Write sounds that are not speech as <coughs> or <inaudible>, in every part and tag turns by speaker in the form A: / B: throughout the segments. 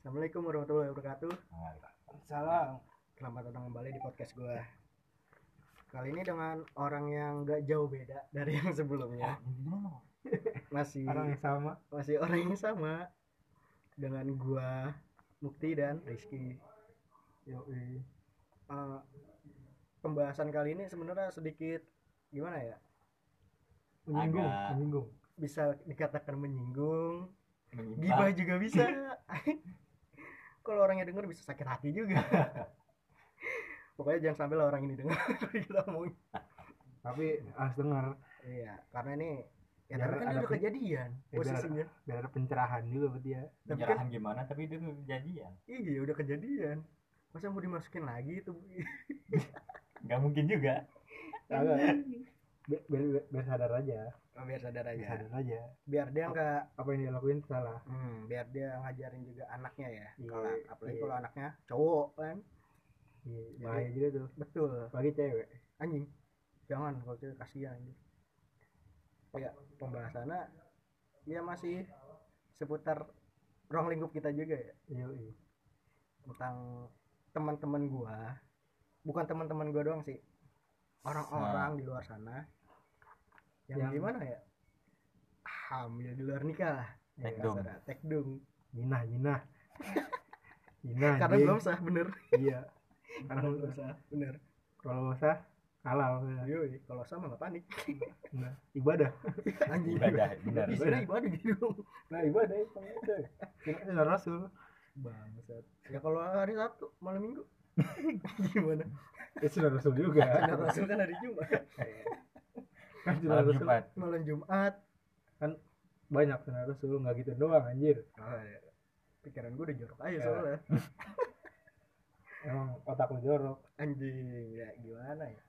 A: Assalamualaikum warahmatullahi wabarakatuh.
B: Salam.
A: Selamat datang kembali di podcast gue. Kali ini dengan orang yang gak jauh beda dari
C: Ya.
A: yang sebelumnya. Masih
B: Oh, Orang yang sama.
A: masih orang yang sama dengan gua Mukti dan Rizky.
B: Yoi.
A: Eh, pembahasan kali ini sebenarnya sedikit gimana ya?
B: Menyinggung,
C: Agak-
B: menyinggung.
A: Bisa dikatakan menyinggung,
C: Gibah.
A: gibah juga bisa Ah. <laughs> kalau orangnya denger bisa sakit hati juga <laughs> pokoknya jangan sampai lah orang ini <laughs> gitu dengar kita omongin
B: Tapi harus dengar
A: iya karena ini ya
B: Biar
A: tapi kan
B: ada
A: udah
B: pe-
A: kejadian
B: Ya, biar-
A: posisinya
B: biar ada pencerahan juga ya. buat dia.
A: tapi kan
C: Penyerahan gimana tapi itu kejadian.
A: iya udah kejadian masa mau dimasukin lagi itu
C: Gak mungkin juga.
B: Agak. Biar, biar, biar sadar aja.
A: Oh, biar sadar Oh.
B: Biar
A: aja
B: sadar aja.
A: biar dia nggak
B: Apa yang dia lakuin salah.
A: hmm, biar dia ngajarin juga anaknya ya
B: Iya,
A: kalau apalagi
B: iya.
A: kalau anaknya cowok kan
B: Iya, bahaya juga tuh.
A: betul
B: Bagi cewek.
A: anjing jangan kalau cewek kasihan anjing ya pembahasannya ya masih seputar ruang lingkup kita juga ya
B: Yoi.
A: tentang teman-teman gua bukan teman-teman gua doang sih orang-orang di luar sana yang,
B: Nah. Yang-
A: gimana ya hamil di luar nikah lah
C: Tekdom.
A: Kasarnya, tekdom
B: Jinah,
A: <laughs>
B: jinah. Jinah.
A: karena
B: anjing.
A: belum sah bener
B: Iya. <laughs> Karena belum
A: sah bener
B: Kalau usah halal. ya.
A: Yoi, kalau sama nggak panik
B: Nah,
A: <laughs>
B: ibadah.
A: anjing
C: Ibadah, bener.
A: ibadah ibadah gitu
B: Nah, ibadah itu.
A: Kan
B: Kita Rasul.
A: Bangsat. Ya kalau hari Sabtu malam Minggu <laughs> gimana?
B: Ya sudah Rasul juga.
A: Ada Rasul kan hari Jumat,
B: Kan sunnah
C: Malam
B: Rasul
C: Jumat.
A: malam Jumat.
B: banyak sunnah Rasul nggak gitu doang anjir.
A: Ah, ya. Pikiran gue udah jorok aja
B: Ya.
A: soalnya.
B: Emang otak lu jorok.
A: Anjing, ya gimana ya?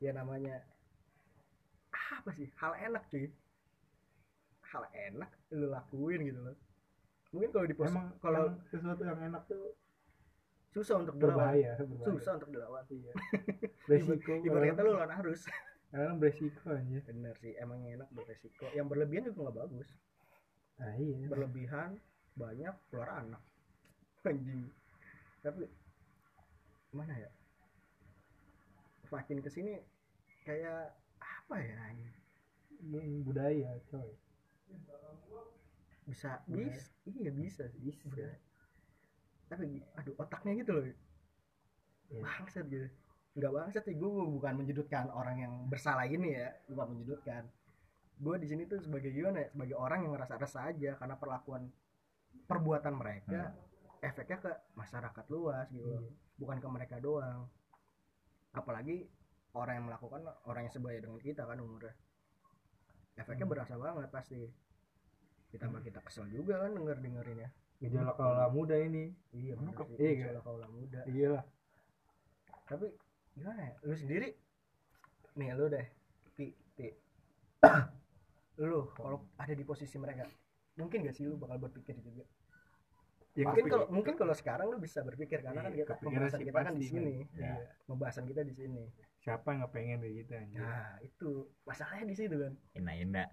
A: Ya namanya apa sih? Hal enak cuy. Hal enak lu lakuin gitu loh. Mungkin kalau di pos
B: Emang
A: kalau
B: yang sesuatu yang enak tuh
A: susah untuk dilawan.
B: berbahaya, berbahaya.
A: Susah untuk dilawan. <laughs>
B: Iya. Beresiko.
A: Ibarat kata
B: orang-
A: lu lawan arus.
B: orang beresiko anjir.
A: Bener sih, emang enak beresiko. Yang berlebihan juga nggak bagus.
B: Nah, iya.
A: berlebihan banyak keluar anak <laughs> anjing tapi mana ya makin kesini kayak apa ya anjing?
B: Ini Mm, budaya, coy.
A: bisa
B: Budaya.
A: bis iya bisa sih
B: Bisa.
A: budaya. tapi gi- aduh otaknya gitu loh
B: Iya.
A: bangsat gitu nggak bangsat sih gue bukan menyudutkan orang yang bersalah ini ya bukan menyudutkan gue di sini tuh sebagai gimana ya sebagai orang yang ngerasa rasa aja karena perlakuan perbuatan mereka
B: Hmm.
A: efeknya ke masyarakat luas gitu
B: Iya.
A: loh. bukan ke mereka doang apalagi orang yang melakukan orang yang sebaya dengan kita kan umurnya efeknya
B: Hmm.
A: berasa banget pasti ditambah kita kesel juga kan denger dengerinnya
B: Gejala kaula muda ini.
A: iya
C: Hmm,
A: bener sih
B: iya.
A: gejala kaula muda
B: Iyalah.
A: tapi gimana ya lu sendiri nih lu deh pi pi <coughs> lu kalau ada di posisi mereka mungkin gak sih lu bakal berpikir juga
B: Yang
A: Ya, mungkin
B: kepikir-
A: kalau mungkin kalau sekarang lu bisa berpikir karena kan
B: Ya, Iya,
A: kita
B: kepikiran
A: pembahasan
B: sih
A: kita kan di
B: pasti,
A: sini
C: Ya.
B: Iya.
A: pembahasan kita di sini
B: Siapa yang nggak pengen kayak gitu anjir?
A: nah itu masalahnya di situ kan
C: Enak-enak.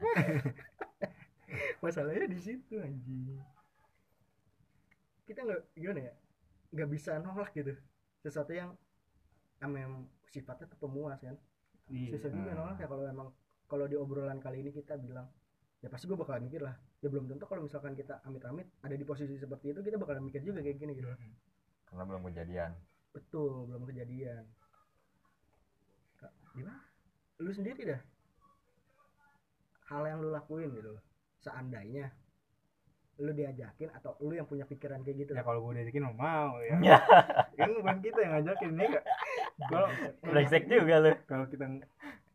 A: masalahnya di situ anjing kita nggak gimana ya nggak bisa nolak gitu sesuatu yang emang sifatnya tuh pemuas kan
B: Iya.
A: susah juga
C: Hmm.
A: nolak ya kalau emang kalau di obrolan kali ini kita bilang ya pasti gue bakal mikir lah ya belum tentu kalau misalkan kita amit-amit ada di posisi seperti itu kita bakal mikir juga kayak gini gitu
C: Karena belum kejadian.
A: betul belum kejadian Ka- gimana lu sendiri dah hal yang lu lakuin gitu loh. seandainya lu diajakin atau lu yang punya pikiran kayak gitu
B: Ya kalau gue diajakin mau mau ya.
C: Ya.
B: Kan bukan kita yang ngajakin ya nggak? Kalau
A: kan
C: Brengsek juga lu.
B: kalau kita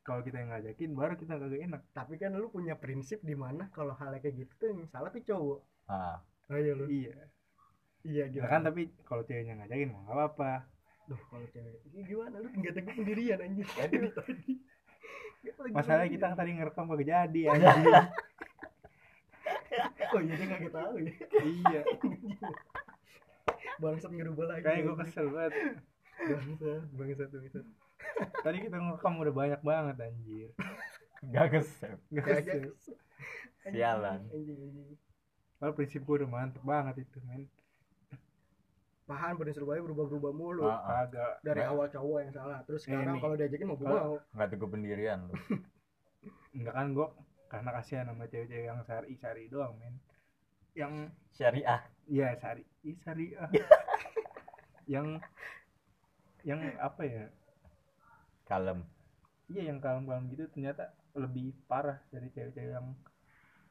B: kalau kita yang ngajakin baru kita kagak enak.
A: tapi kan lu punya prinsip di mana kalau hal yang kayak gitu tuh yang salah tuh cowok
C: Ah,
A: ayo lu
B: Iya.
A: iya
B: Ya
A: gitu
B: kan tapi kalau ceweknya ngajakin mau nggak apa-apa.
A: Duh, kalau cewek ini gimana lu nggak teguh sendirian anjir <laughs> dari tadi.
B: Ya, Masalahnya kita tadi ngerekam kagak jadi anjing.
A: oh iya dia nggak tahu ya.
B: iya.
A: Bangsat ngerubah lagi.
B: Kayak gue kesel banget.
A: Bangsat, bangsat, bangsat.
B: Tadi kita ngerekam udah banyak banget anjir.
C: gak kesel.
B: Gak
A: Kayaknya
B: kesel.
A: kesel.
C: Sialan.
A: Anjing, anjing.
B: Kalau prinsip gue udah mantep banget itu men.
A: Pahan prinsip Surabaya berubah-berubah mulu.
C: Ah, ah.
B: Agak
A: Dari
C: Nah. Ah.
A: awal cowok yang salah, terus sekarang
B: Ini.
A: kalau diajakin mau gue
B: Kalau-
A: mau.
C: nggak teguh pendirian lu.
B: enggak kan gua karena kasihan sama cewek-cewek yang sari sari doang men. Yang
C: Syariah.
B: ya sari, ih sari ah. yang yang apa ya?
C: Kalem.
B: Iya yang kalem-kalem gitu ternyata lebih parah dari cewek-cewek yang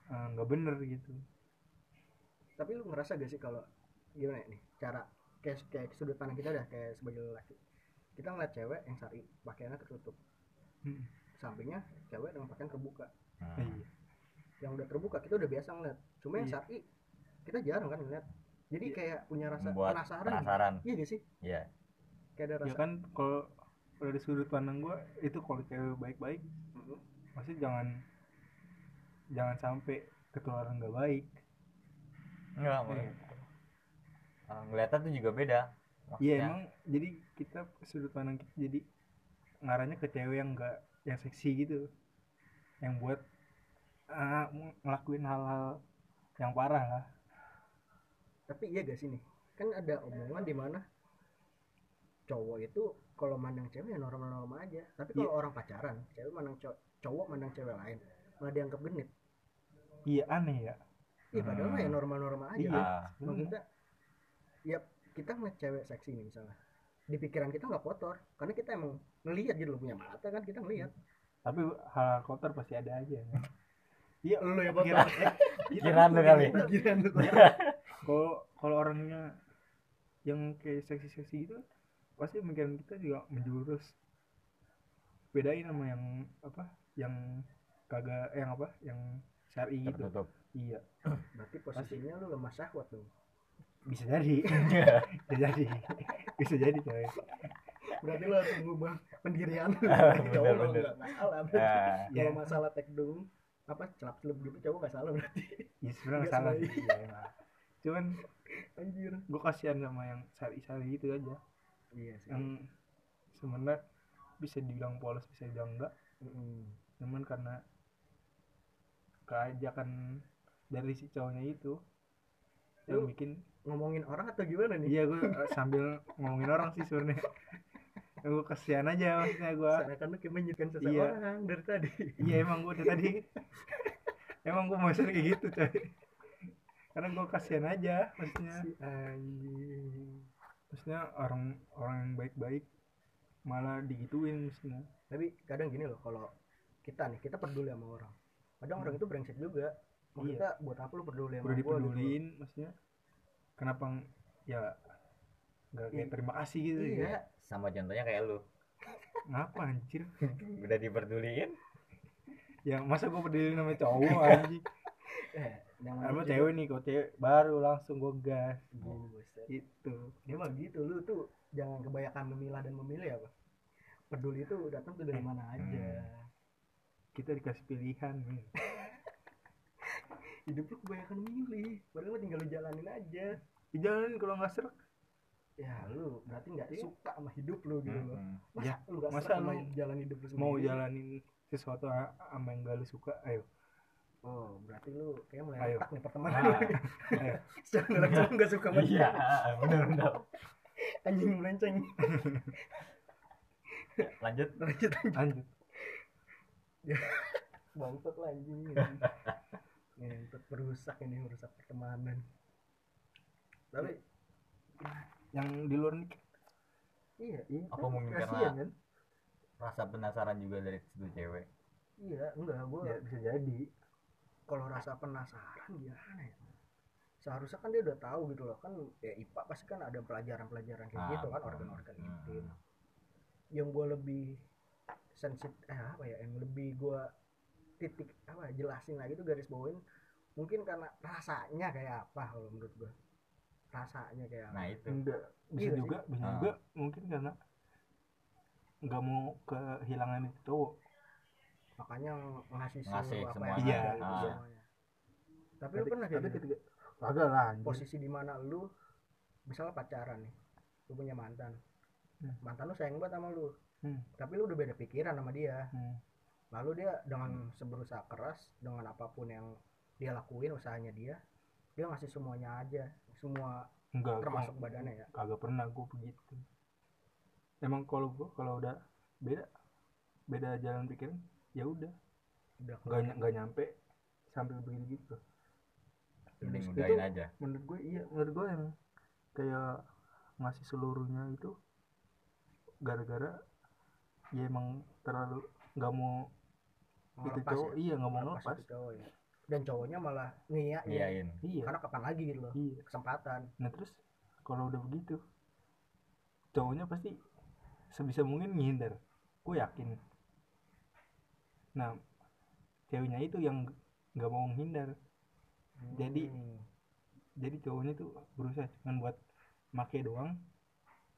B: eh, nggak bener gitu.
A: Tapi lu ngerasa gak sih kalau gimana ya nih cara kayak kayak sudut pandang kita dah kayak sebagai lelaki. Kita ngeliat cewek yang sari pakaiannya tertutup,
B: Hmm.
A: sampingnya cewek dengan pakaian terbuka.
C: Hmm.
B: Iya.
A: Yang udah terbuka kita udah biasa ngeliat. Cuma yang
B: Iya.
A: sari kita jarang kan ngeliat. Jadi kayak punya rasa
C: Iya. Membuat
A: penasaran.
C: Penasaran.
A: Iya gak sih?
C: Iya.
A: Kayak ada
B: Ya
A: rasa.
B: kan kalau dari sudut pandang gua itu kalau cewek baik-baik
A: Mhm.
B: maksudnya jangan jangan sampai ketularan nggak baik
C: Enggak,
B: Iya.
C: Ah, ngeliatnya tuh juga beda.
B: iya
C: Maksudnya,
B: emang jadi kita sudut pandang kita jadi ngarahnya ke cewek yang nggak yang seksi gitu yang buat ah, ng- ngelakuin hal-hal yang parah lah
A: tapi iya gak sih nih kan ada omongan di mana cowok itu kalau mandang cewek ya normal-normal aja tapi kalau orang pacaran cewek mandang cow- cowok mandang cewek lain malah dianggap genit
B: iya aneh ya
A: iya padahal mah ya
C: Hmm.
A: normal-normal aja
B: Iya.
C: ah,
A: maksudnya ya kita ngeliat cewek seksi nih misalnya di pikiran kita nggak kotor karena kita emang ngelihat gitu loh punya mata kan kita ngelihat
B: tapi hal kotor pasti ada aja ya. iya
A: Lu yang
B: pikiran-
C: pikiran kan lu kali.
A: pikiran lu
B: kalau kalau orangnya yang kayak seksi-seksi gitu pasti pikiran kita juga menjurus bedain sama yang apa yang kagak yang apa yang syari gitu
C: Tertutup.
B: iya
A: berarti posisinya lu lemah syahwat dong
B: bisa <laughs> jadi bisa jadi bisa jadi coy
A: berarti lu harus mengubah pendirian lu
C: Ah,
A: Jadi cowok lu
C: bener-bener.
A: nggak nggak salah
C: Nah,
A: kalau
B: ya
A: masalah tekdung apa celap celup gitu cowok nggak salah berarti
B: ya sebenarnya nggak
A: Nggak
B: salah
A: sebaik.
B: sih iya, emang. cuman
A: anjir
B: gue kasihan sama yang syari-syari gitu aja
A: iya sih
B: yang sebenarnya bisa dibilang polos bisa dibilang enggak Hmm.
A: Mm-mm.
B: cuman karena keajakan dari si cowoknya itu yang
A: Lu-
B: bikin
A: ngomongin orang atau gimana nih
B: iya gue sambil ngomongin orang sih sebenarnya <laughs> gue kesian aja maksudnya gue
A: karena kan lu kayak menyukai seseorang dari tadi
B: iya emang gue dari tadi <laughs> emang gue mau kayak gitu coy karena gue kasihan aja maksudnya
A: si anjing
B: maksudnya orang orang yang baik-baik malah digituin maksudnya
A: tapi kadang gini loh kalau kita nih kita peduli sama orang kadang
B: Hmm. Iya.
A: orang itu brengsek juga maksudnya buat apa lu peduli sama
B: udah
A: gua gitu loh.
B: dipeduliin maksudnya kenapa ng- ya nggak kayak terima kasih gitu ya
A: iya
C: sama contohnya kayak lu.
B: ngapa anjir
C: Udah diperduliin.
B: ya masa gue peduli sama cowok
A: Iya.
B: anjing
A: eh, yang
B: sama
A: gitu.
B: cewek nih kalau cewek baru langsung gue gas
A: Buset.
B: gitu
A: dia mah gitu lu tuh jangan kebanyakan memilah dan memilih apa peduli itu datang tuh
B: Eh.
A: dari mana aja
B: Hmm. kita dikasih pilihan men.
A: hidup lu kebanyakan milih padahal mah tinggal lu jalanin aja
B: Di jalan kalau nggak serak
A: ya lu berarti nggak
B: Iya.
A: suka sama hidup lu gitu loh
C: Mm-mm.
A: masa
B: Ya,
A: lu nggak
B: masa
A: suka sama
B: lu
A: jalan hidup lu sendiri
B: mau jalanin sesuatu a- sama yang gak lu suka ayo
A: oh berarti lu kayak mulai
B: Ayo.
A: retak nih pertemanan <laughs>
B: Ah,
A: lu
B: ayo.
A: secara nggak langsung nggak suka sama
C: Iya, benar benar.
A: anjing melenceng
C: Lanjut.
A: lanjut
B: lanjut
A: bangkot lah anjing ngentot merusak ini merusak pertemanan tapi
B: yang di luar nikah
A: iya iya
C: Apa mungkin karena-
A: kasihan kan
C: Rasa penasaran juga dari situ cewek.
A: iya enggak gua
B: ya bisa jadi
A: kalau rasa penasaran gimana ya seharusnya kan dia udah tahu gitu loh kan ya IPA pasti kan ada pelajaran-pelajaran kayak
C: Ah,
A: gitu kan
C: betul.
A: organ-organ
C: Hmm.
A: intim yang gue lebih sensitif eh apa ya yang lebih gue titik apa ya, jelasin lagi tuh garis bawain mungkin karena rasanya kayak apa kalau menurut gue rasanya kayak apa
C: Nah, itu.
B: enggak bisa
A: Iya sih.
B: juga bisa
C: Ah.
B: juga mungkin karena nggak mau kehilangan itu cowok
A: makanya ng- ngasih semua
C: Ngasih
A: apa
C: semuanya,
A: yang ada
B: ah.
A: gitu semuanya tapi lu
B: Tapi-
A: pernah kayak
B: tapi
A: gitu?
B: ketika agak lah anjir.
A: posisi di mana lu misalnya pacaran nih lu punya mantan
B: Hmm.
A: mantan lu sayang banget sama lu
B: Hmm.
A: tapi lu udah beda pikiran sama dia
B: Hmm.
A: lalu dia dengan seberusaha keras dengan apapun yang dia lakuin usahanya dia dia ngasih semuanya aja semua
B: enggak
A: termasuk
B: gua-
A: badannya ya
B: kagak pernah gue begitu emang kalau gue kalau udah beda beda jalan pikiran ya udah
A: udah
B: nggak ny- nggak nyampe sampai begitu gitu
C: mending
B: Itu-
C: udahin aja
B: menurut gue iya menurut gue yang kayak ngasih seluruhnya itu gara-gara ya emang terlalu nggak mau itu
A: melepas
B: cowok
A: ya
B: iya nggak mau
A: melepas
B: ngelepas
A: itu cowok ya dan cowoknya malah ngiyain
C: ngiyain
B: iya
A: karena kapan lagi gitu loh
B: iya
A: kesempatan
B: nah terus kalau udah begitu cowoknya pasti sebisa mungkin ngindar gue yakin nah ceweknya itu yang nggak mau menghindar Jadi-
A: Hmm.
B: jadi cowoknya tuh berusaha cuman buat make doang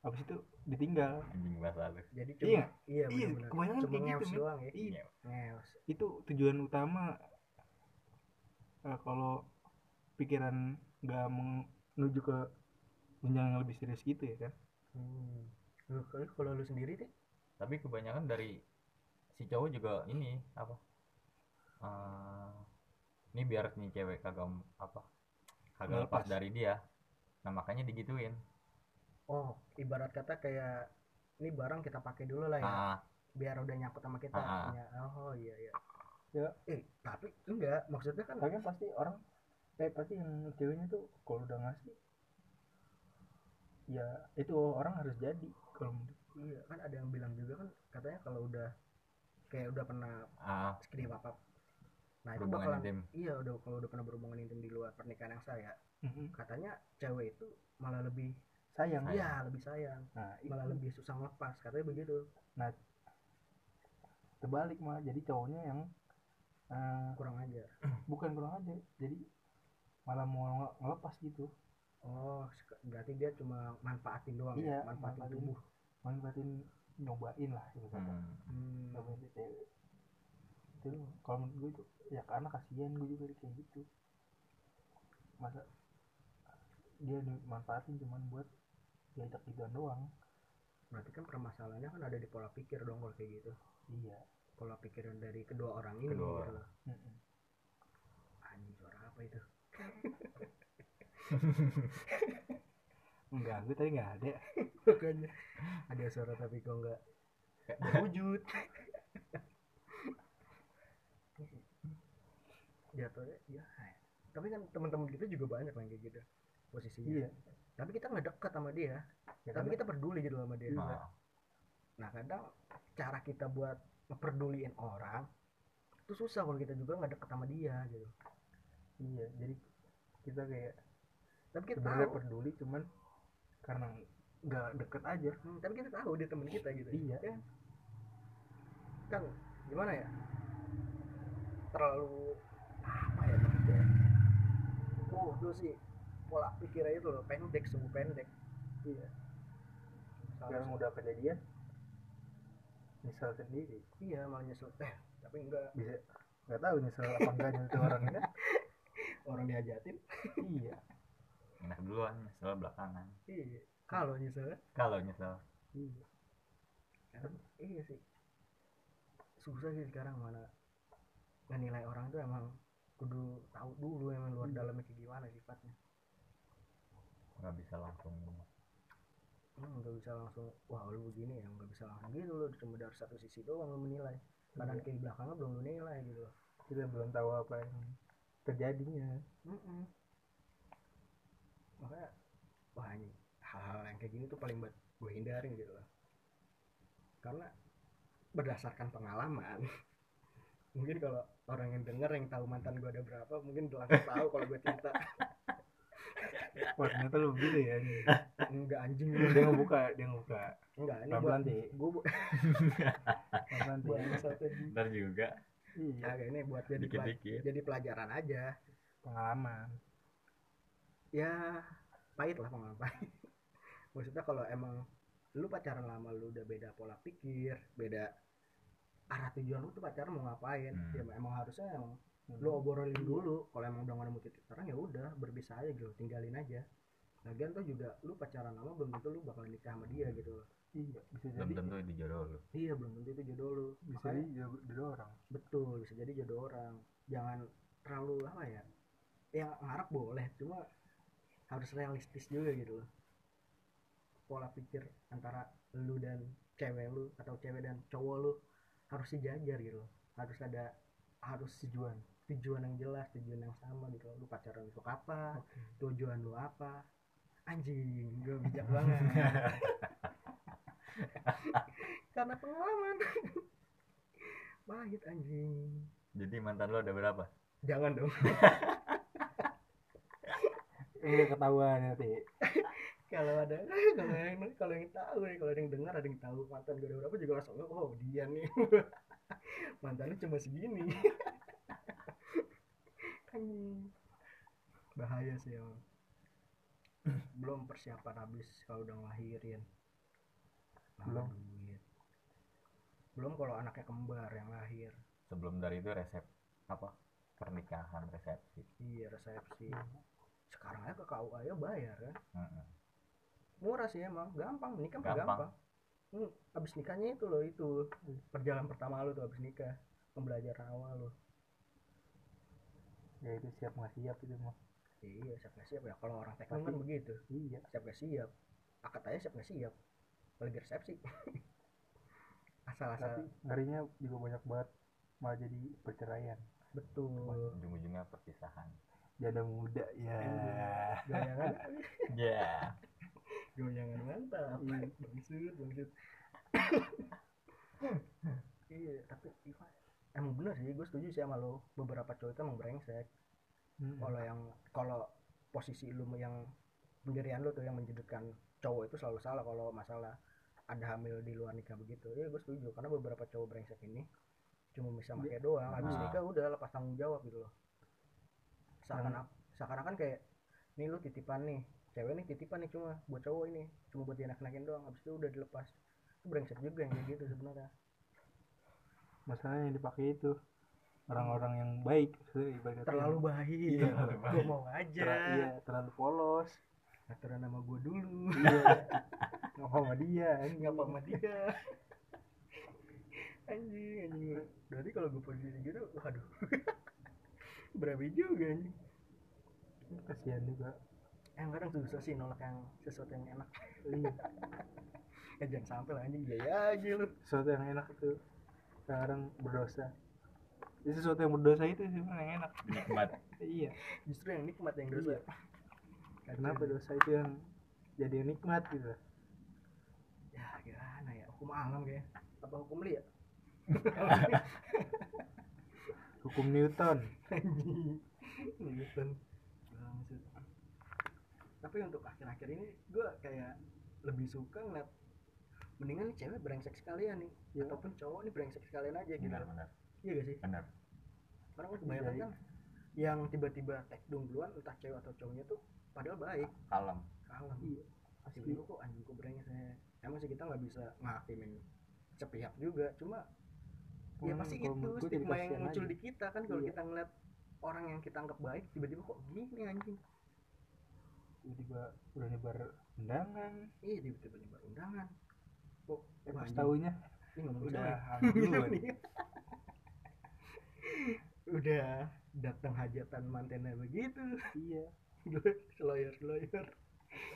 B: habis itu ditinggal
C: anjing bahasa lu
A: jadi cuma
B: Iya.
A: iya,
B: Iya,
A: benar-benar.
B: kebanyakan
A: cuma
B: kayak gitu,
A: ngeos
B: men.
A: doang ya
B: iya
A: ngeos
B: itu tujuan utama eh, kalau pikiran nggak menuju ke jenjang yang lebih serius gitu ya kan
A: hmm. Lu- lu- kalau lu sendiri deh
C: tapi kebanyakan dari si cowok juga ini apa Eh, ini biar nih cewek kagak m- apa kagak lepas
B: Ngelepas.
C: dari dia nah makanya digituin
A: oh ibarat kata kayak ini barang kita pakai dulu lah ya
C: ah
A: biar udah nyangkut sama kita
C: Ah.
A: punya oh iya iya
B: Ya.
A: eh tapi enggak maksudnya kan
B: tapi pasti orang eh pasti yang ceweknya tuh kalau udah ngasih ya itu orang harus jadi kalau menurut-
A: iya kan ada yang bilang juga kan katanya kalau udah kayak udah pernah
C: ah
A: segede apa nah itu
C: hubungan
A: bakalan
C: intim
A: iya udah kalau udah pernah berhubungan intim di luar pernikahan yang saya
B: Mm-hmm.
A: katanya cewek itu malah lebih
B: sayang
C: Sayang.
A: iya lebih sayang
B: nah itu
A: malah lebih susah melepas katanya begitu
B: terbalik malah jadi cowoknya yang eh,
A: kurang aja
B: bukan kurang aja jadi malah mau nge- ngelepas gitu
A: oh sek- berarti dia cuma manfaatin doang ya
B: Iya,
A: manfaatin
B: manfaatin.
A: tubuh
B: manfaatin nyobain lah gitu kata
C: Hmm.
A: Hmm.
B: nyobain si cewek itu loh, kalau menurut gue itu ya karena kasihan gue juga kayak gitu masa dia dimanfaatin cuman buat diajak gituan doang
A: berarti kan permasalahannya kan ada di pola pikir dong kalau kayak gitu
B: iya
A: pola pikiran dari kedua orang ini
C: Kedua
A: gitu
C: orang.
A: loh.
B: Mm-mm.
A: anjing suara apa itu
B: <laughs> enggak gue tadi enggak ada
A: bukannya ada suara tapi kok enggak
B: wujud
A: jatuhnya ya tapi kan teman-teman kita juga banyak yang kayak gitu posisinya
B: iya
A: tapi kita nggak dekat sama dia
B: ya
A: tapi
B: karena
A: kita peduli gitu sama dia
C: Nah,
A: nah kadang cara kita buat ngeperduliin orang itu susah kalau kita juga nggak deket sama dia gitu
B: iya jadi kita kayak
A: tapi kita
B: sebenarnya
A: tahu
B: peduli cuman karena nggak deket aja
A: Hmm, tapi kita tahu dia teman kita gitu
B: Iya.
A: ya kan gimana ya terlalu apa ya oh itu sih pola pikirnya itu loh pendek sungguh pendek
B: iya
A: Salah
B: sekarang udah kejadian misal sendiri
A: Iya malah nyesel eh tapi enggak
B: bisa nggak tahu nyesel apa enggaknya itu orangnya
A: orang diajatin
B: iya
C: enak duluan nyesel belakangan
A: iya kalau nyesel
C: kalau nyesel
B: iya
A: kan iya sih susah sih sekarang mana nilai orang tuh emang kudu tahu dulu emang luar
B: Iya.
A: dalamnya kayak gimana sifatnya
C: nggak bisa langsung
A: hmm, nggak bisa langsung wah lu begini ya nggak bisa langsung gitu lu cuma dari satu sisi doang lu menilai kadang
B: Iya.
A: kiri belakangnya belum lu nilai gitu loh
B: kita belum tahu apa yang terjadinya
A: Mm-mm. makanya wah ini hal-hal yang kayak gini tuh paling buat gue hindarin gitu loh karena berdasarkan pengalaman <laughs> mungkin kalau orang yang denger yang tahu mantan gue ada berapa mungkin udah langsung tahu kalau gue cinta
B: wah ternyata lu begitu ya <laughs>
A: enggak anjing
B: dia ngebuka dia ngebuka
A: enggak ini
B: pelan
A: buat
B: pelan deh
A: gue bu-
B: pelan pelan
A: buat
B: deh
A: satu di-
C: ntar juga
B: iya
A: Kagak, ini buat jadi
C: dikit
A: pelaj-
C: dikit
A: jadi pelajaran aja
B: pengalaman
A: ya pahit lah pengalaman pahit <laughs> maksudnya kalau emang lu pacaran lama lu udah beda pola pikir beda arah tujuan lu tuh pacaran mau ngapain
C: Hmm.
A: ya emang harusnya emang lu
B: lo
A: obrolin dulu kalau emang udah nggak nemu titik terang ya udah berpisah aja gitu tinggalin aja lagian tuh juga lu pacaran lama belum tentu lu bakal nikah sama dia gitu loh
B: iya bisa
C: belum
B: jadi
C: tentu itu jodoh lu
A: iya belum tentu itu jodoh lu
B: bisa
A: Makanya-
B: jadi jodoh jodoh orang
A: betul bisa jadi jodoh orang jangan terlalu apa ya yang ngarep boleh ya cuma harus realistis juga gitu loh pola pikir antara lu dan cewek lu atau cewek dan cowok lu harus sejajar gitu loh harus ada harus tujuan tujuan yang jelas tujuan yang sama gitu loh. lu pacaran untuk apa tujuan lu apa anjing gue bijak banget <laughs> karena pengalaman <laughs> pahit anjing
C: Jadi mantan lo ada berapa?
A: jangan dong
B: Ini Eh, ketahuan nanti.
A: kalau ada <laughs> kalau yang kalau yang tahu nih kalau ada yang dengar ada yang tahu mantan gue ada berapa juga langsung oh dia nih <laughs> mantan lu cuma segini <laughs> Anjing. bahaya sih emang belum persiapan habis kalau udah ngelahirin Nah,
B: Belum.
A: duit. belum kalau anaknya kembar yang lahir
C: Sebelum dari itu resep apa? Pernikahan resepsi.
A: iya resepsi sekarang aja ke KUA ya bayar kan
C: Mm-mm.
A: murah sih emang gampang nikah mah
C: Gampang.
A: gampang, Hmm, abis nikahnya itu loh itu perjalanan pertama lo tuh abis nikah pembelajaran awal lo
B: Ya itu siap nggak siap itu mah.
A: iya siap nggak siap ya kalau orang teknik
B: Tapi-
A: kan begitu
B: Iya.
A: siap nggak siap akad aja siap nggak siap lagi resepsi <laughs> asal-asal
B: Tapi ngerinya juga banyak banget malah jadi perceraian.
C: Oh.
A: betul
C: Ujung-ujungnya perpisahan.
B: Janda muda ya.
A: goyangan
C: Ya.
A: goyangan mantap
B: Iya.
A: bangsut bangsut iya tapi Ivan, emang bener sih gue setuju sih sama lo beberapa cowok itu emang brengsek
B: Mm-mm.
A: kalau yang kalau posisi lu yang pendirian lu tuh yang menjudutkan cowok itu selalu salah kalau masalah ada hamil di luar nikah begitu ya gue setuju karena beberapa cowok brengsek ini cuma bisa pakai doang habis
C: Nah.
A: nikah udah lepas tanggung jawab gitu loh seakan seakan kan kayak nih lu titipan nih cewek nih titipan nih cuma buat cowok ini cuma buat dienak-enakin doang habis itu udah dilepas itu brengsek juga yang kayak gitu sebenarnya
B: Masalahnya yang dipakai itu orang-orang yang baik maksudnya ibaratnya.
A: terlalu baik
B: Iya,
C: terlalu
A: gue mau aja
B: Ter- iya, terlalu polos.
A: aturan nama gue dulu
B: <laughs> iya. Ngapa sama dia? anjing.
A: nggak sama dia Iya. anjing anjing berarti kalau gue posisi gitu waduh <laughs> berapa juga anjing
B: Kasihan juga.
A: yang kadang Eh, susah sih nolak yang sesuatu yang enak
B: Iya.
A: ya jangan sampai lah anjing gaya aja lu
B: sesuatu yang enak itu sekarang berdosa Jadi sesuatu yang berdosa itu sih sebenarnya yang enak
C: Nikmat.
B: iya
A: justru yang nikmat yang dosa
B: Iya. kenapa dosa itu yang jadi yang nikmat gitu
A: ya gimana ya hukum alam kayak apa hukum <laughs> li ya
B: hukum Newton
A: anjing Newton. Bangsat. tapi untuk akhir-akhir ini gue kayak lebih suka ngeliat mendingan nih cewek brengsek sekalian nih
B: Iya.
A: ataupun cowok nih brengsek sekalian aja gitu
C: Benar, benar.
A: iya gak sih
C: Benar.
A: karena kan kebanyakan
B: Iya, iya.
A: kan yang tiba-tiba tag dong duluan entah cewek atau cowoknya tuh padahal baik
C: Kalem.
A: kalem
B: Iya.
A: pasti lu kok anjing kok brengsek emang sih kita nggak bisa ngakimin sepihak juga cuma ya
B: Hmm,
A: pasti
B: kalau
A: itu
B: menurut gua jadi
A: stigma yang
B: kasihan
A: muncul
B: aja.
A: di kita kan kalau
B: Iya.
A: kita ngeliat orang yang kita anggap baik tiba-tiba kok gini anjing
B: tiba-tiba udah nyebar undangan
A: iya tiba-tiba nyebar undangan kok
B: eh
A: wah,
B: pas
A: anjing.
B: tahunya
A: ini ngomong
B: udah
A: cewek. <laughs>
B: hamil
A: Gitu
B: duluan.
A: nih. udah datang hajatan mantennya begitu
B: iya
A: gue seloyor seloyor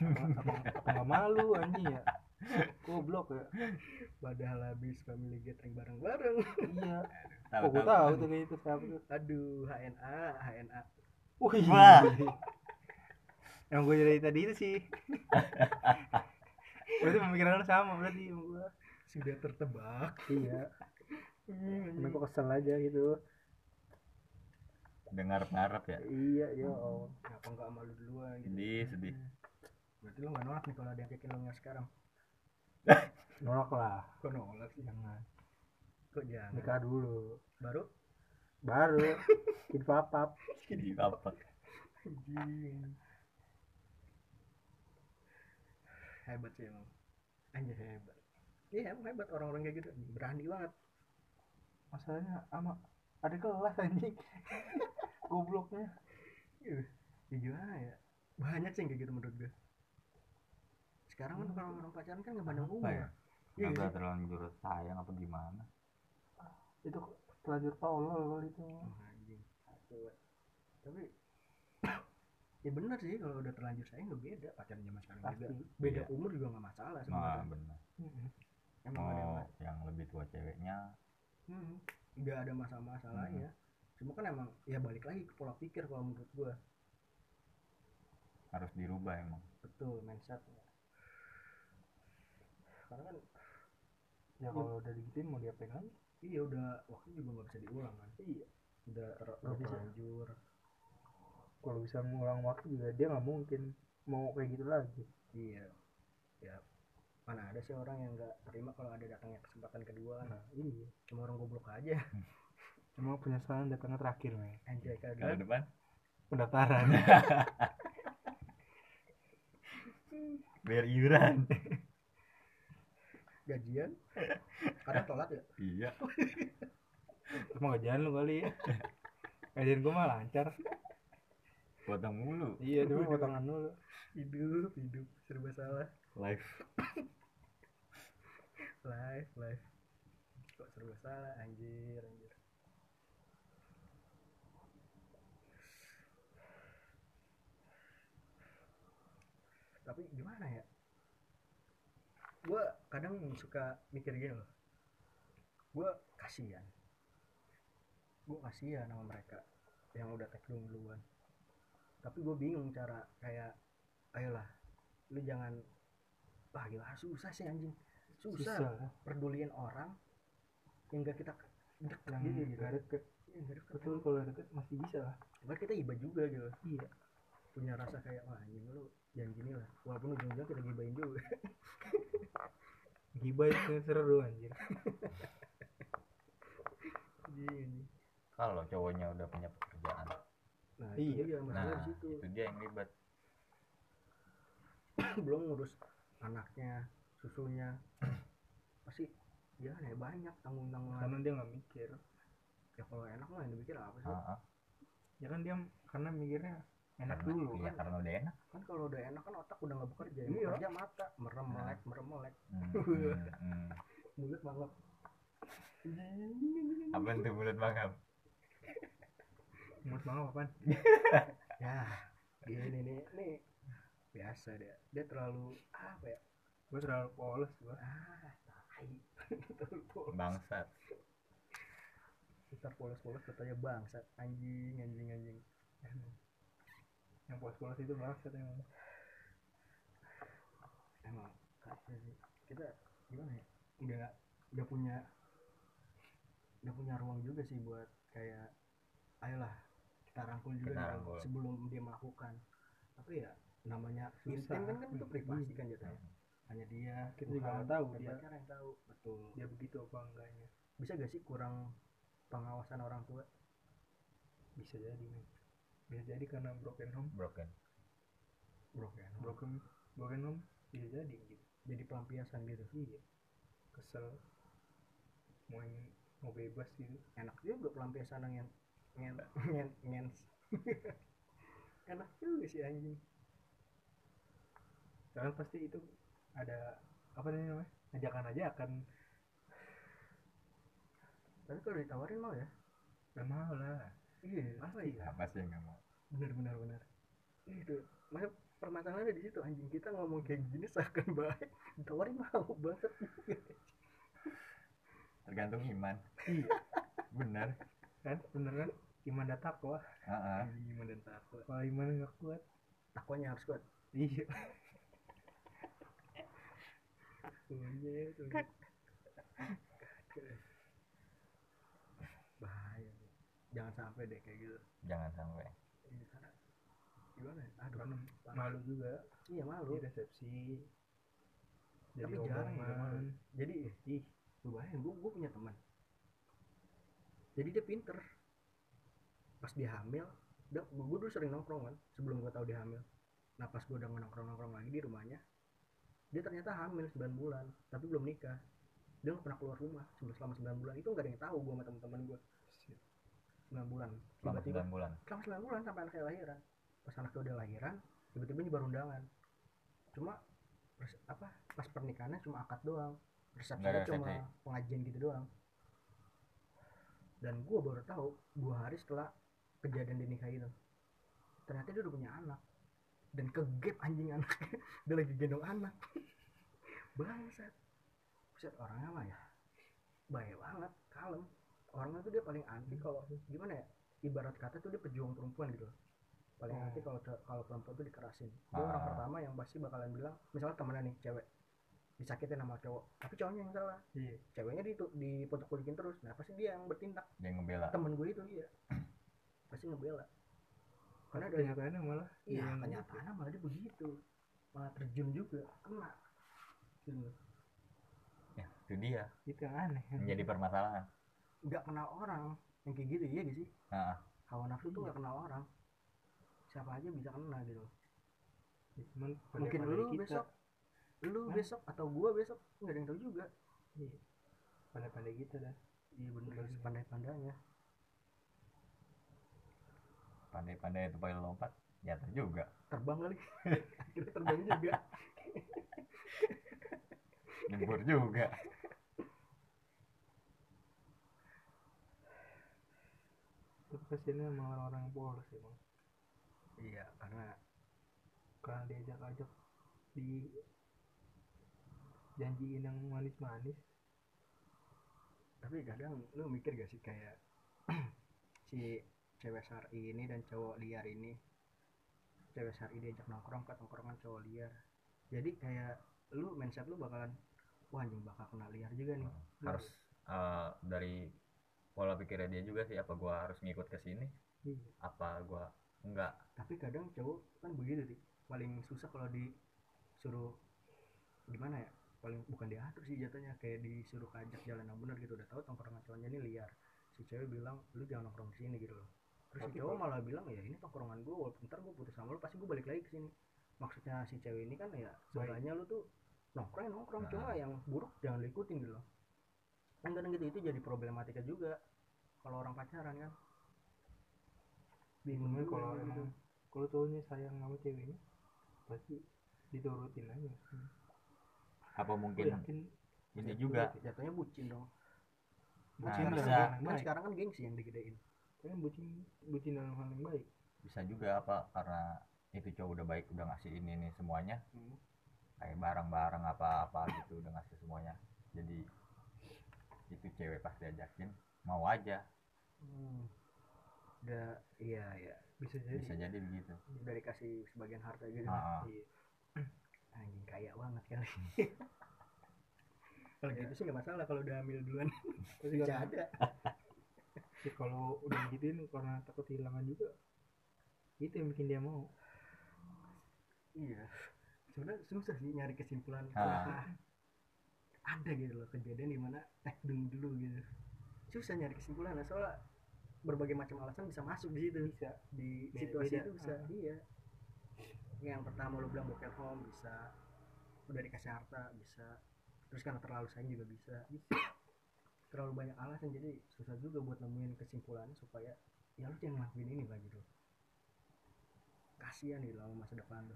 B: apa apa nggak malu anjing ya goblok ya
A: padahal habis family gathering bareng-bareng
B: iya
C: Oh, Tahu
B: kok gue tahu
C: kan
B: tuh kayak itu siapa tuh
A: aduh HNA HNA
B: Wih.
C: Wah.
B: yang gue dari tadi itu
A: <laughs>
B: sih berarti pemikiran lu sama berarti sama gue
A: sudah tertebak
B: iya Cuma gue kesel aja gitu
C: Dengar parap ya.
B: Iya ya Allah
A: kenapa nggak malu duluan gitu
C: Sedih, sedih.
A: berarti lo nggak nolak nih kalau ada yang kayak lo nggak sekarang
B: Nolak lah
A: kok nolak sih
B: Jangan
A: kok jangan
B: Nikah dulu
A: baru
B: Baru Bikin papap
C: Sedih apa?
A: hebat sih emang anjir hebat iya emang hebat orang-orang kayak gitu berani banget
B: Masalahnya ama Ada kelas <laughs> anjing Gobloknya
A: Ih, ya gimana ya banyak sih yang kayak gitu menurut gue sekarang kan kalau orang pacaran kan nggak pandang umur
C: Hmm. ya?
A: Iya
C: Enggak
A: sih.
C: terlanjur sayang apa gimana?
B: Itu Ya terlanjur tolol kali itu
A: Oh, anjing. Coba. tapi ya bener sih kalau udah terlanjur sayang udah beda pacaran zaman sekarang
B: pasti
A: juga beda
C: Iya.
A: umur juga nggak masalah
C: nah Oh.
A: sebenarnya
C: benar
B: Mm-mm.
A: emang nggak ada yang
C: mau yang lebih tua ceweknya
A: Hmm, nggak ada masalah-masalahnya.
C: Hmm.
A: Cuma kan emang ya balik lagi ke pola pikir kalau menurut gua.
C: harus dirubah emang
A: Betul, mindsetnya. Karena kan
B: ya kalau udah digituin mau diapain lagi
A: iya udah waktu juga nggak bisa diulang kan.
B: iya
A: Udah ter-
B: Nggak bisa.
A: terlanjur.
B: kalau bisa mengulang waktu juga dia nggak mungkin mau kayak gitu lagi
A: Iya. Ya mana ada sih orang yang nggak terima kalau ada datangnya kesempatan kedua kan.
B: nah, iya
A: Cuma orang goblok aja.
B: cuma penyesalan datangnya terakhir nih
A: Anjay
C: kalau
A: kagak.
C: depan
B: pendaftaran <laughs>
C: bayar iuran <laughs>
A: <laughs> Gajian. Kadang telat ya.
C: iya
B: cuma kerjaan lu kali ya kerjaan gua mah lancar
C: potong mulu
B: iya cuma potongan dulu
A: Hidup, hidup serba salah.
C: live
A: Live, live. Kok serba salah anjir, anjir. Tapi gimana ya? Gue kadang suka mikir gini loh. Gue kasihan. Gue kasihan sama mereka yang udah tekdung duluan. Tapi gue bingung cara kayak ayolah lu jangan wah gila susah sih anjing susah
B: susah
A: peduliin orang yang gak kita deket
B: yang
A: gitu gitu
B: nggak deket
A: Iya, nggak deket.
B: betul kalau deket masih bisa lah
A: Cuman kita iba juga gitu
B: iya
A: punya rasa kayak wah anjing lu jangan gini lah walaupun ujung-ujungnya kita gibain juga <laughs>
B: gibah itu seru anjir
A: gini
C: kalau cowoknya udah punya pekerjaan
A: nah
B: Iya.
A: iya masalah
C: nah
A: di situ
C: itu dia yang ribet
A: <clears throat> belum ngurus anaknya susunya <clears throat> pasti ya ya banyak tanggung tanggungan
B: karena dia nggak mikir
A: ya kalau enak mah yang dipikir apa sih
C: Heeh.
B: ya kan dia karena mikirnya enak
C: Karena-
B: dulu
C: iya,
B: kan
C: karena udah enak
A: kan kalau udah enak kan otak udah nggak bekerja yang
B: Iya.
A: bekerja mata merem
C: Nah.
A: melek merem melek
C: Hmm, hmm, hmm.
A: mulut mangap
C: apa tuh mulut bangam
A: iya.
B: menurut mama
A: <laughs>
B: apaan
A: ya gini nih nih biasa dia dia terlalu apa ya
B: gue terlalu polos gue
A: ah tai <laughs> terlalu polos
C: bangsat
A: ntar polos-polos katanya bangsa anjing anjing anjing
B: yang polos-polos itu banget emang
A: emang kacau sih kita gimana ya nggak nggak punya nggak punya ruang juga sih buat kayak ayolah kita rangkul juga
C: Kita
A: dong
C: rangkul.
A: sebelum dia melakukan tapi ya namanya
B: Susah.
A: intim kan kan itu
B: Hmm.
A: privasi kan jatuhnya hanya dia
B: Kita
A: Tuhan,
B: juga nggak tahu
A: dan
B: dia-
A: pacar yang tahu betul
B: dia Ya begitu apa enggaknya
A: bisa gak sih kurang pengawasan orang tua
B: bisa jadi men bisa jadi karena broken home
C: broken
A: bro kan
B: broken broken home bisa jadi gitu
A: jadi pelampiasan gitu
B: iya kesel mau yang- mau bebas gitu
A: enak juga pelampiasan yang ngen ngen ngen <laughs> enak juga sih anjing
B: Karena pasti itu ada apa namanya ajakan ajakan
A: tapi kalau ditawarin mau ya
B: gak mau lah
A: iya
B: pasti lah
C: apa sih yang nggak mau
A: benar benar benar itu Gitu. masa permasalahannya di situ anjing kita ngomong kayak gini seakan baik ditawarin <laughs> mau banget
C: tergantung iman
B: iya
C: bener
B: kan bener kan iman dan takwa
C: Heeh.
A: anjing gimana Iya, dan takwa
B: kalau iman nggak kuat
A: takwanya harus kuat
B: iya
A: Iya, itu. bahaya jangan sampai deh kayak gitu
C: jangan sampai
A: Iya, karena gimana ya? aduh
B: karena
A: parah.
B: malu juga
A: iya malu
B: di resepsi jadi
A: Tapi jarang ya, malu.
B: omongan
A: jadi
B: ih
A: lu bayangin gue gue punya teman jadi dia pinter pas dia hamil dia gue dulu sering nongkrong kan sebelum gue tahu dia hamil nah pas gue udah nongkrong nongkrong lagi di rumahnya dia ternyata hamil 9 bulan tapi belum nikah dia nggak pernah keluar rumah sebelum selama 9 bulan itu nggak ada yang tahu gue sama teman-teman gue 9 bulan
C: selama
A: tiba-tiba
C: sembilan bulan
A: selama 9 bulan sampai anaknya lahiran pas anaknya udah lahiran tiba-tiba nyebar undangan cuma pers- apa pas pernikahannya cuma akad doang resepsinya
C: Nggak ada
A: cuma
C: resepsi.
A: pengajian gitu doang dan gue baru tahu dua hari setelah kejadian dia nikah itu ternyata dia udah punya anak dan kegep anjing anak <laughs> dia lagi gendong anak bangsat Buset, orangnya mah ya bahaya banget kalem orangnya tuh dia paling anti kalau gimana ya ibarat kata tuh dia pejuang perempuan gitu loh paling
B: Oh.
A: anti kalau kalau perempuan tuh dikerasin dia
C: Ah.
A: orang pertama yang pasti bakalan bilang misalnya temennya nih cewek disakitin sama cowok tapi cowoknya yang salah
B: iya
A: ceweknya di dipotok-potokin terus nah pasti dia yang bertindak
C: dia yang ngebela
A: temen gue itu iya pasti ngebela karena dari
B: kenyataannya malah
A: Iya,
B: yang-
A: kenyataannya malah dia begitu. Malah terjun juga, kena. Gitu.
C: ya itu dia
B: itu yang aneh kan.
C: menjadi permasalahan
A: Nggak kenal orang. Yang kayak gitu, iya gak sih?
C: nah,
A: Hawa nafsu tuh
B: Iya.
A: nggak kenal orang. Siapa aja bisa kena gitu.
B: Ya, cuman
A: Mungkin
B: pandai-pandai
A: lu besok, lu
B: Hah?
A: besok, atau gua besok, nggak ada yang tahu juga.
B: Iya. pandai-pandai kita dah
A: Iya bener,
B: Bener.
A: pandai-pandainya.
C: pandai-pandai itu paling lompat jatuh juga
A: Terbang kali. <laughs> Akhirnya terbang juga.
C: nyebur juga
B: tapi kasihannya sama orang-orang yang polos emang
A: iya, karena
B: karena diajak-ajak di janjiin yang manis-manis
A: tapi kadang lu mikir gak sih kayak <clears throat> si cewek sari ini dan cowok liar ini cewek sari diajak nongkrong ke tongkrongan cowok liar jadi kayak lu mindset lu bakalan wah anjing bakal kena liar juga nih
C: harus eh, dari pola pikirnya dia juga sih apa gua harus ngikut ke sini
B: iya
C: apa gua enggak
A: tapi kadang cowok kan begitu sih paling susah kalau disuruh gimana ya paling bukan diatur sih jatuhnya kayak disuruh kajak jalan yang benar gitu udah tahu tongkrongan cowoknya ini liar si cewek bilang lu jangan nongkrong di sini gitu loh terus si
B: Tapi
A: cowok
B: kalau-
A: malah bilang ya ini tongkrongan gue walaupun ntar gue putus sama lu pasti gue balik lagi ke sini maksudnya si cewek ini kan ya sebenarnya lu tuh nongkrong ya nongkrong
C: Nah.
A: cuma yang buruk jangan lu ikutin gitu loh kan kadang gitu itu jadi problematika juga kalau orang pacaran kan bingung
B: Sebenarnya
A: juga
B: kalau
A: gitu.
B: emang kalau cowoknya sayang sama ceweknya pasti diturutin aja
C: apa
B: gue
C: mungkin
B: yakin
C: ini
B: Iya,
C: juga
B: betul.
A: jatuhnya bucin dong
C: Nah,
A: bucin
C: bisa.
A: kan,
B: Yang
A: kan
B: baik.
A: sekarang kan gengsi yang digedein
B: kan bucin bucin dalam hal yang baik
C: bisa juga apa karena itu cowok udah baik udah ngasih ini ini semuanya
B: Hmm.
C: kayak barang-barang apa-apa gitu udah ngasih semuanya jadi itu cewek pas diajakin mau aja
A: hmm. udah iya iya
B: bisa jadi
C: bisa jadi begitu
A: udah dikasih sebagian harta gitu
C: Ah, ah.
B: Iya.
A: <clears throat> anjing kaya banget kali <laughs> kalau gitu sih nggak masalah kalau udah hamil <laughs> duluan
B: Terus juga
A: nggak ada
B: Ya, kalau udah gituin karena takut kehilangan juga itu yang bikin dia mau
A: iya sebenarnya susah sih nyari kesimpulan
C: Ah.
A: apakah ada gitu loh kejadian di mana eh dulu dulu gitu susah nyari kesimpulan nah, soalnya berbagai macam alasan bisa masuk di situ
B: bisa
A: di
B: Beda-
A: situasi
B: beda.
A: itu bisa iya yang pertama lu bilang broken home bisa udah dikasih harta bisa terus karena terlalu sayang juga bisa terlalu banyak alasan jadi susah juga buat nemuin kesimpulan supaya ya lu jangan ngelakuin ini lah gitu kasihan gitu sama masa depan lu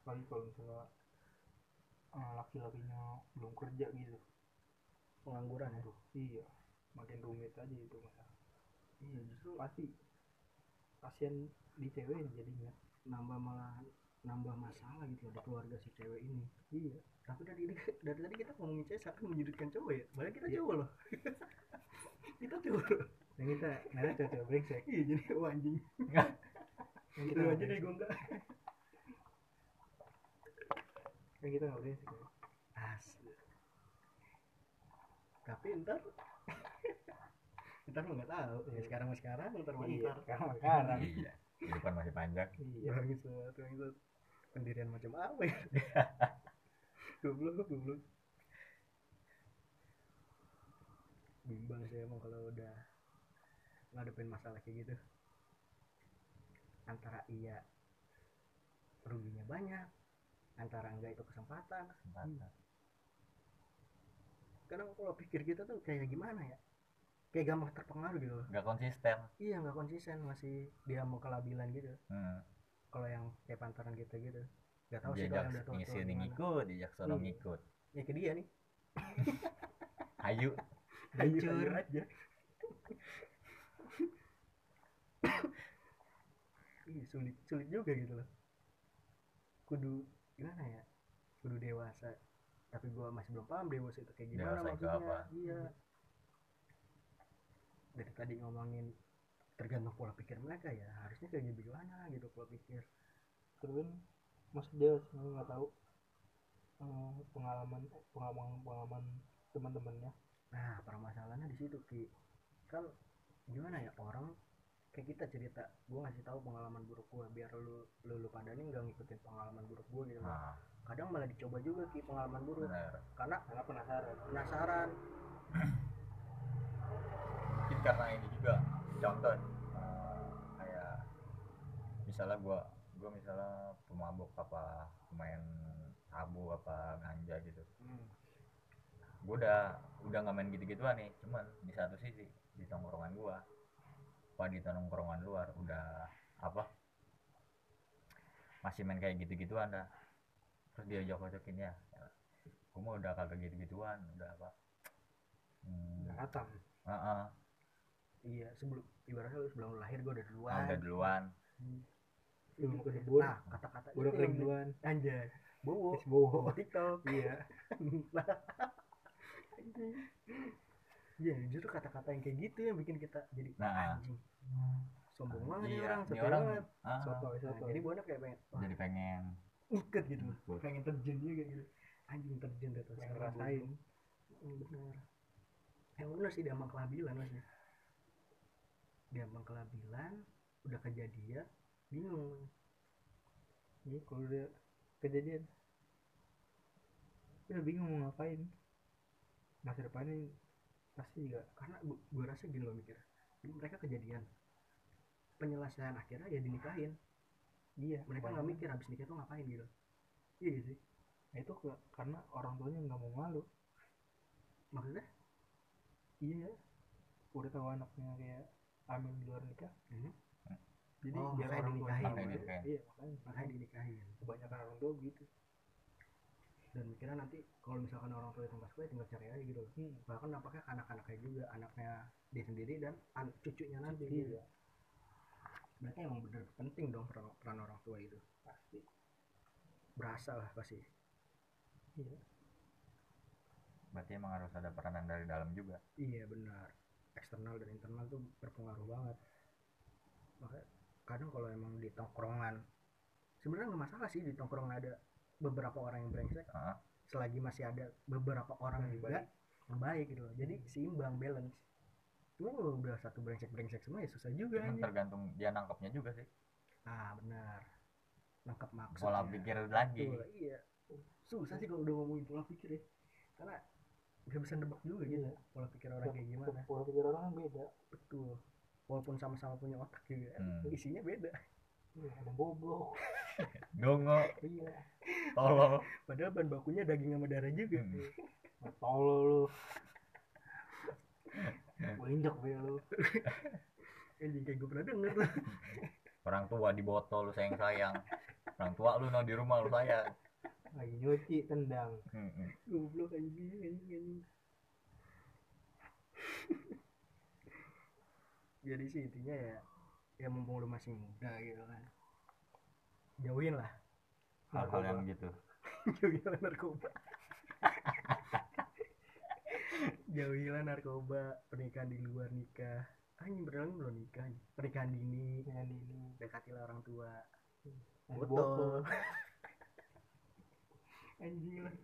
B: kali kalau misalnya eh, laki-lakinya belum kerja gitu
A: pengangguran ya
B: Aduh, iya makin rumit aja itu malah
A: iya justru
B: pasti kasihan di cewek jadinya
A: nambah malah nambah masalah gitu loh di keluarga si cewek ini
B: iya
A: tapi dari ini dari tadi kita ngomongin cewek seakan menyudutkan cowok ya padahal kita
B: Iya.
A: cowok
B: <laughs>
A: loh kita cowok loh.
B: dan kita nanya cewek brengsek
A: iya jadi wah, anjing
B: yang kita
A: Lu Gitu aja
B: nggak
A: deh
B: brengsek.
A: gue enggak
B: yang kita nggak brengsek ya.
A: Asli. Tapi ntar <laughs> ntar lu nggak tahu. Ya, sekarang mah sekarang, ntar mah
B: iya
A: ntar.
B: karena sekarang
C: iya kehidupan masih panjang
B: iya
A: Bangsat, bangsat. gitu. Pendirian macam apa ya? <laughs> Goblok, goblok. Bimbang sih emang kalau udah ngadepin masalah kayak gitu. Antara iya ruginya banyak, antara enggak itu kesempatan, Iya.
C: Mantap.
A: kadang kalau pikir kita tuh kayak gimana ya kayak gampang terpengaruh gitu loh
C: nggak konsisten
A: iya nggak konsisten masih dia mau kelabilan gitu
C: hmm.
A: kalau yang kayak pantaran gitu gitu nggak tahu sih
C: diajak
A: kalau yang udah tua
C: ngisi
A: tua
C: ini ngikut diajak sono
A: Iya.
C: ngikut
A: ya ke dia nih
C: ayo
A: Ayo, <coughs>
B: Hancur.
A: ayo aja
B: iya, sulit sulit juga gitu loh
A: kudu gimana ya kudu dewasa tapi gua masih belum paham dewasa itu kayak
C: Dewasa
A: gimana
C: itu
A: maksudnya
C: apa?
A: iya dari tadi ngomongin tergantung pola pikir mereka ya harusnya kayak gimana gitu pola pikir
B: terus maksud dia sebenarnya nggak tahu eh, pengalaman pengalaman pengalaman teman-temannya
A: nah permasalahannya di situ ki kan gimana ya orang kayak kita cerita gua ngasih tahu pengalaman buruk gua biar lu lu, lu pada nih nggak ngikutin pengalaman buruk gua gitu
C: nah
A: kadang malah dicoba juga ki pengalaman buruk
C: benar
A: karena
B: Nah. karena penasaran
A: penasaran
C: mungkin karena ini juga contoh eh, kayak misalnya gua gua misalnya pemabuk apa pemain sabu apa ganja gitu
A: Hmm.
C: gue udah udah nggak main gitu-gituan nih cuman di satu sisi di tongkrongan gua apa di tongkrongan luar udah apa masih main kayak gitu-gituan dah terus dia jok jokin ya gue mah udah kagak gitu-gituan udah apa hmm,
B: nggak katam
C: heeh, ah,
A: iya sebelum ibaratnya lu sebelum lu lahir gua udah duluan
C: ah, udah duluan
B: belum kedebur
A: nah Oh. kata-kata
B: udah
A: itu
B: kering
A: yang-
B: duluan
A: anjay
B: <laughs>
A: bowo
B: Is bowo
A: bowo tiktok
B: iya
A: Anjing. <laughs> ya justru kata-kata yang kayak gitu yang bikin kita jadi
C: Nah.
A: anjing sombong banget nih
C: Iya,
A: orang
C: ini
A: sotoy
C: orang
A: banget
C: ah,
B: soto
A: Nah,
B: soto
A: jadi buana kayak pengen wah,
C: jadi pengen
A: ikut gitu
C: Ikut.
A: pengen terjun juga kayak gitu anjing terjun gitu. di atas
B: yang
A: orang
B: ngerasain
A: bodoh. bener yang bener Ya, sih diambang kelabilan masih diambang kelabilan udah kejadian bingung
B: ini kalau udah kejadian udah bingung mau ngapain masa depannya pasti juga
A: karena gua, gua rasa gini loh mikir mereka kejadian penyelesaian akhirnya ya dinikahin
B: iya
A: mereka nggak mikir habis nikah tuh ngapain gitu iya gitu sih
B: Nah, itu ke- karena orang tuanya nggak mau malu
A: maksudnya
B: iya udah tahu anaknya kayak hamil di luar nikah
A: Mhm.
B: jadi
A: Oh,
B: biar
A: makanya
B: orang tua
A: dinikahin.
B: tahu
C: Makanya
B: ya.
C: dinikahin.
B: iya makanya gitu.
A: makanya dinikahin
B: kebanyakan orang tua begitu
A: dan mikirnya nanti kalau misalkan orang tua itu nggak suka ya tinggal cari aja gitu loh
B: hmm.
A: bahkan nampaknya ke anak-anaknya juga anaknya dia sendiri dan an- cucunya nanti gitu.
B: iya
A: mereka emang bener penting dong peran, peran orang tua itu
B: pasti
A: berasa lah pasti
B: iya
C: berarti emang harus ada peranan dari dalam juga
A: iya benar eksternal dan internal tuh berpengaruh banget makanya kadang kalau emang di tongkrongan sebenarnya nggak masalah sih di tongkrongan ada beberapa orang yang brengsek
C: Heeh.
A: selagi masih ada beberapa orang
B: Yang
A: juga yang baik gitu loh jadi seimbang balance cuma kalau udah satu brengsek brengsek semua ya susah juga
C: cuman
A: anjing.
C: tergantung dia nangkapnya juga sih
A: ah benar nangkap maksud
C: pola pikir lagi
A: Betul, iya susah sih kalau udah ngomongin pola pikir ya karena nggak bisa nebak juga gitu
B: iya
A: pola pikir orang kayak gimana
B: pola pikir orang kan beda
A: betul walaupun sama-sama punya otak juga
C: Hmm.
A: isinya beda
B: iya ada goblok
C: dongo
B: iya
C: tolol
A: padahal bahan bakunya daging sama darah juga
C: Hmm.
B: Nggak tolol lu <laughs> gue injek be lu
A: anjing kayak gue pernah denger tuh.
C: orang tua di botol lu sayang sayang orang tua lu no di rumah lu Hmm, sayang
B: lagi nyuci tendang
C: Mm-mm.
A: goblok anjing anjing anjing <laughs> jadi sih intinya ya ya mumpung lu masih muda gitu kan jauhin lah <laughs>
C: hal-hal yang gitu
A: jauhilah narkoba <laughs> jauhilah narkoba pernikahan di luar nikah anjing beneran lu belum nikah anjing. pernikahan dini
B: dengan ini
A: dekatilah orang tua
B: Ada
A: botol Iya, anjing lah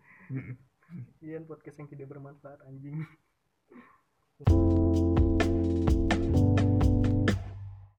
A: Sekian podcast yang tidak bermanfaat anjing